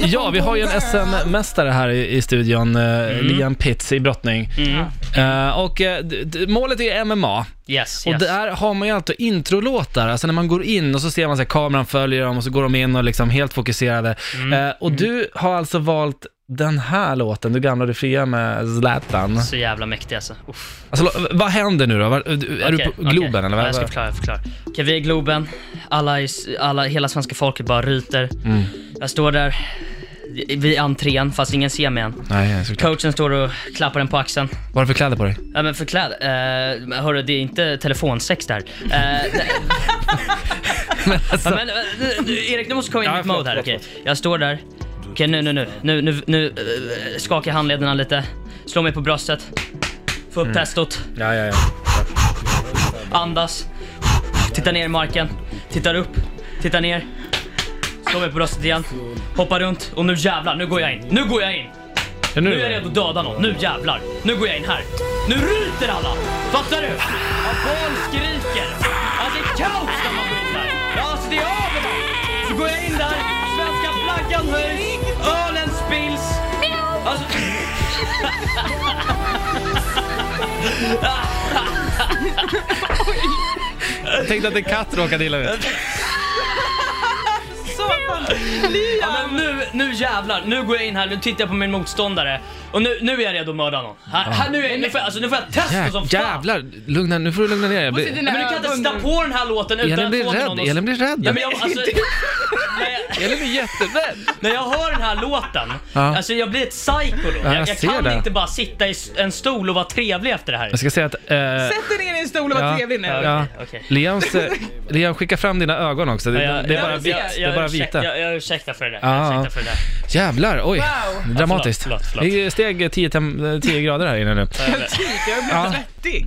Ja, vi har ju en SM-mästare här i, i studion, eh, Mm. Liam Pitts i brottning. Eh, och eh, d- d- målet är MMA. Yes, Och yes. där har man ju alltid introlåtar, alltså när man går in och så ser man att kameran följer dem och så går de in och liksom helt fokuserade. Mm. Eh, och du har alltså valt den här låten, Du gamla och du fria med Zlatan. Så jävla mäktig alltså. Uff. Alltså, lo- vad händer nu då? Var, du- är Okej, du på Globen okej. eller? Ja, vad? jag ska förklara, jag förklarar. Okej, vi är i Globen. Alla, i s- alla, hela svenska folket bara ryter. Mm. Jag står där vid entrén, fast ingen ser mig än. Nej, nej, såklart. Coachen står och klappar den på axeln. Vad har du för kläder på dig? Ja men förklädd. Uh, hörru, det är inte telefonsex där. Eh, nej. ja, men, eh, du- du, Erik, du måste komma in i alltså- Ja, förlåt, mitt mode här. förlåt, Okej, Jag står där. Okej, nu, nu, nu. Nu, nu, nu eh, skakar jag handlederna lite. Slår mig på bröstet. Får Mm. upp testot. Ja, ja, ja. Andas. Tittar ner i marken. Tittar upp. Tittar ner. Slår mig på bröstet igen. Hoppar runt. Och nu jävlar, nu går jag in. Nu går jag in. nu, Nu är jag redo att döda någon. Nu jävlar. Nu går jag in här. Nu ryter alla. Fattar du? Ja, barn skriker. Alltså det är kaos när man går in där. Ja, alltså det är överallt. Så går jag in där. Svenska flaggan höjs. Ölen spills. Alltså... Jag tänkte att en katt råkade illa ut. Ja, men nu, nu jävlar, nu går jag in här, nu tittar jag på min motståndare och nu, nu är jag redo att mörda någon. Här, här, nu, är, jag- nu, får, jag- alltså, nu får jag testa som Jä- fan. Jävlar, lugna, nu får du lugna ner dig. Jag blir- Men du kan inte sätta på den här låten utan Elin att blir få till någon rädd, att- Elin blir rädd. Ja, men jag, alltså, när, jag, Elin blir jätterädd. när jag hör den här låten, Ja. alltså jag blir ett psyko då. Ja, jag, jag jag ser kan det. inte bara sitta i s- en stol och vara trevlig efter det här. Jag ska säga att... Eh, Sätt dig ner i en stol och var Ja. trevlig nu. Ja. ja, Okej, okej. Leons, eh, Leon, skicka fram dina ögon också. Det, Ja, jag- det, är, jag- bara jag- vitt, det är jag bara ursäk- vita. Jag, jag ursäktar för det där. Ja, Jag ja. ursäktar för det där. Jävlar, oj. Dramatiskt. förlåt, förlåt, förlåt. Det är steg 10, tem- 10 grader här inne nu. Jag tycker jag blir Ja. svettig.